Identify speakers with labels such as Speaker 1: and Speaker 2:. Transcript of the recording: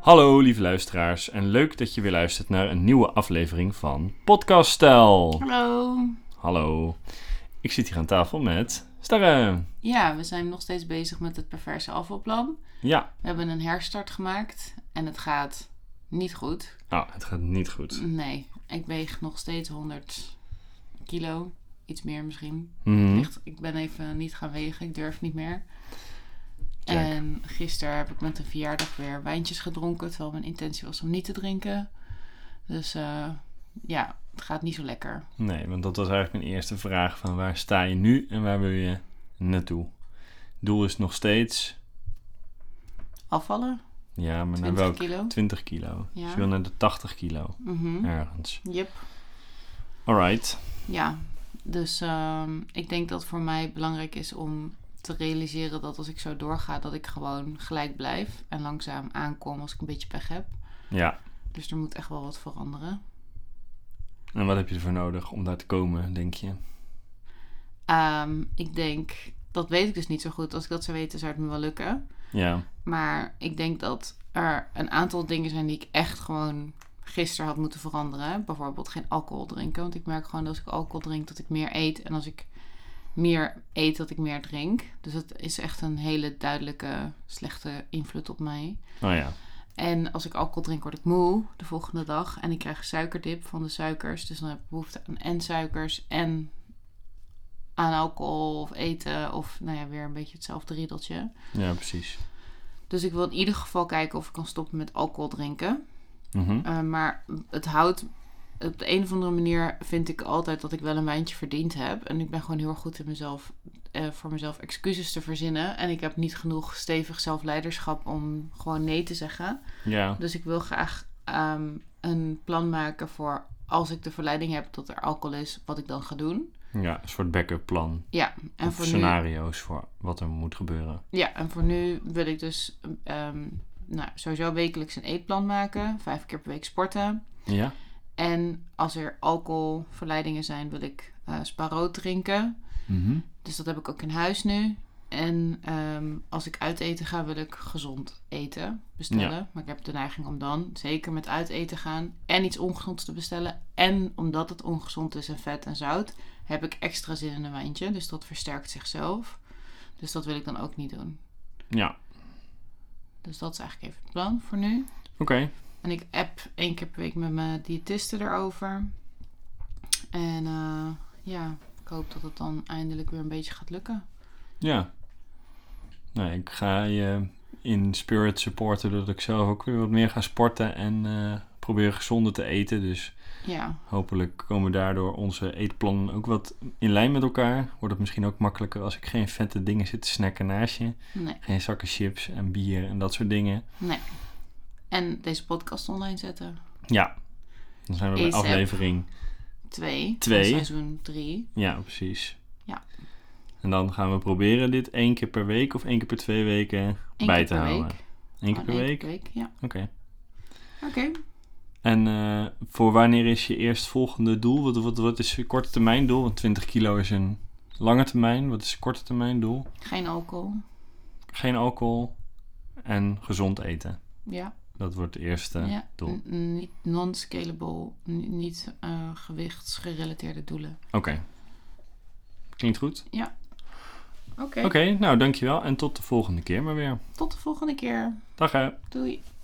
Speaker 1: Hallo lieve luisteraars en leuk dat je weer luistert naar een nieuwe aflevering van Podcast Stijl.
Speaker 2: Hallo.
Speaker 1: Hallo, ik zit hier aan tafel met Starre.
Speaker 2: Ja, we zijn nog steeds bezig met het perverse afvalplan.
Speaker 1: Ja,
Speaker 2: We hebben een herstart gemaakt en het gaat niet goed.
Speaker 1: nou, het gaat niet goed.
Speaker 2: Nee, ik weeg nog steeds 100 kilo. Iets meer misschien.
Speaker 1: Mhm.
Speaker 2: Echt, ik ben even niet gaan wegen, ik durf niet meer.
Speaker 1: Kijk.
Speaker 2: En gisteren heb ik met een verjaardag weer wijntjes gedronken, terwijl mijn intentie was om niet te drinken. Dus eh, ja, het gaat niet zo lekker.
Speaker 1: Nee, want dat was eigenlijk mijn eerste vraag van waar sta je nu en waar wil je naartoe? Doel is nog steeds,
Speaker 2: Afvallen?
Speaker 1: ja, maar naar
Speaker 2: 20
Speaker 1: welk?
Speaker 2: kilo?
Speaker 1: 20 kilo.
Speaker 2: Ja.
Speaker 1: Dus je wil naar de 80 kilo
Speaker 2: Mhm.
Speaker 1: ergens.
Speaker 2: Yep.
Speaker 1: Alright.
Speaker 2: Ja, dus ehm, ik denk dat voor mij belangrijk is om te realiseren dat als ik zo doorga, dat ik gewoon gelijk blijf en langzaam aankom als ik een beetje pech heb.
Speaker 1: Ja,
Speaker 2: Dus er moet echt wel wat veranderen.
Speaker 1: en wat heb je ervoor nodig om daar te komen, denk je?
Speaker 2: Ehm, ik denk, dat weet ik dus niet zo goed. Als ik dat zou weten, zou het me wel lukken.
Speaker 1: Ja,
Speaker 2: Maar ik denk dat er een aantal dingen zijn die ik echt gewoon gisteren had moeten veranderen. Bijvoorbeeld geen alcohol drinken. Want ik merk gewoon dat als ik alcohol drink, dat ik meer eet. En als ik meer eet, dat ik meer drink. Dus dat is echt een hele duidelijke slechte invloed op mij.
Speaker 1: oh ja.
Speaker 2: En als ik alcohol drink, word ik moe de volgende dag. En ik krijg suikerdip van de suikers. Dus dan heb ik behoefte aan en suikers en aan alcohol of eten. Of nou ja, weer een beetje hetzelfde riedeltje.
Speaker 1: Ja, precies.
Speaker 2: Dus ik wil in ieder geval kijken of ik kan stoppen met alcohol drinken.
Speaker 1: Mhm.
Speaker 2: Eh, maar het houdt. Op de een of andere manier vind ik altijd dat ik wel een wijntje verdiend heb. En ik ben gewoon heel erg goed in mezelf, eh, voor mezelf excuses te verzinnen. En ik heb niet genoeg stevig zelfleiderschap om gewoon nee te zeggen.
Speaker 1: Ja,
Speaker 2: Dus ik wil graag ehm, een plan maken voor als ik de verleiding heb dat er alcohol is, wat ik dan ga doen.
Speaker 1: ja, een soort backup plan.
Speaker 2: Ja, en
Speaker 1: Of
Speaker 2: voor nu
Speaker 1: scenario's voor wat er moet gebeuren.
Speaker 2: Ja, en voor nu wil ik dus ehm, nou, sowieso wekelijks een eetplan maken. Vijf keer per week sporten.
Speaker 1: Ja?
Speaker 2: En als er alcoholverleidingen zijn, wil ik eh sparrow drinken. Dus dat heb ik ook in huis nu. En ehm, als ik uit eten ga, wil ik gezond eten bestellen. Maar ik heb de neiging om dan zeker met uit eten gaan en iets ongezonds te bestellen. En omdat het ongezond is en vet en zout, heb ik extra zin in een wijntje. Dus dat versterkt zichzelf. Dus dat wil ik dan ook niet doen.
Speaker 1: Ja,
Speaker 2: Dus dat is eigenlijk even het plan voor nu.
Speaker 1: oké.
Speaker 2: En ik app één keer per week met mijn diëtiste erover. En eh, ja, ik hoop dat het dan eindelijk weer een beetje gaat lukken.
Speaker 1: Ja. Nou, ik ga je in spirit supporten doordat ik zelf ook weer wat meer ga sporten en eh, proberen gezonder te eten. Dus
Speaker 2: Ja,
Speaker 1: hopelijk komen daardoor onze eetplannen ook wat in lijn met elkaar. Wordt het misschien ook makkelijker als ik geen vette dingen zit te snacken naast je.
Speaker 2: nee,
Speaker 1: Geen zakken chips en bier en dat soort dingen.
Speaker 2: nee. En deze podcast online zetten.
Speaker 1: Ja, dan zijn we bij
Speaker 2: ASAP.
Speaker 1: aflevering
Speaker 2: Twee. van
Speaker 1: Twee.
Speaker 2: Seizoen drie.
Speaker 1: Ja, precies.
Speaker 2: Ja.
Speaker 1: En dan gaan we proberen dit één keer per week of één keer per twee weken
Speaker 2: Eén
Speaker 1: bij
Speaker 2: keer
Speaker 1: te
Speaker 2: per
Speaker 1: houden.
Speaker 2: week.
Speaker 1: Eén keer per
Speaker 2: Gewoon
Speaker 1: week?
Speaker 2: één keer per Ja,
Speaker 1: Oké.
Speaker 2: oké.
Speaker 1: En eh, voor wanneer is je eerstvolgende doel? Wat, wat, wat is je korte termijn doel? Want 20 kilo is een lange termijn. Wat is je korte termijn doel?
Speaker 2: Geen alcohol.
Speaker 1: Geen alcohol en gezond eten.
Speaker 2: Ja.
Speaker 1: Dat wordt het eerste
Speaker 2: ja.
Speaker 1: doel.
Speaker 2: N- n- Niet non-scalable, n- niet eh, gewichtsgerelateerde doelen.
Speaker 1: Oké. Klinkt goed.
Speaker 2: Oké,
Speaker 1: Oké, nou dankjewel en tot de volgende keer maar weer.
Speaker 2: tot de volgende keer.
Speaker 1: Dag hè.
Speaker 2: Doei.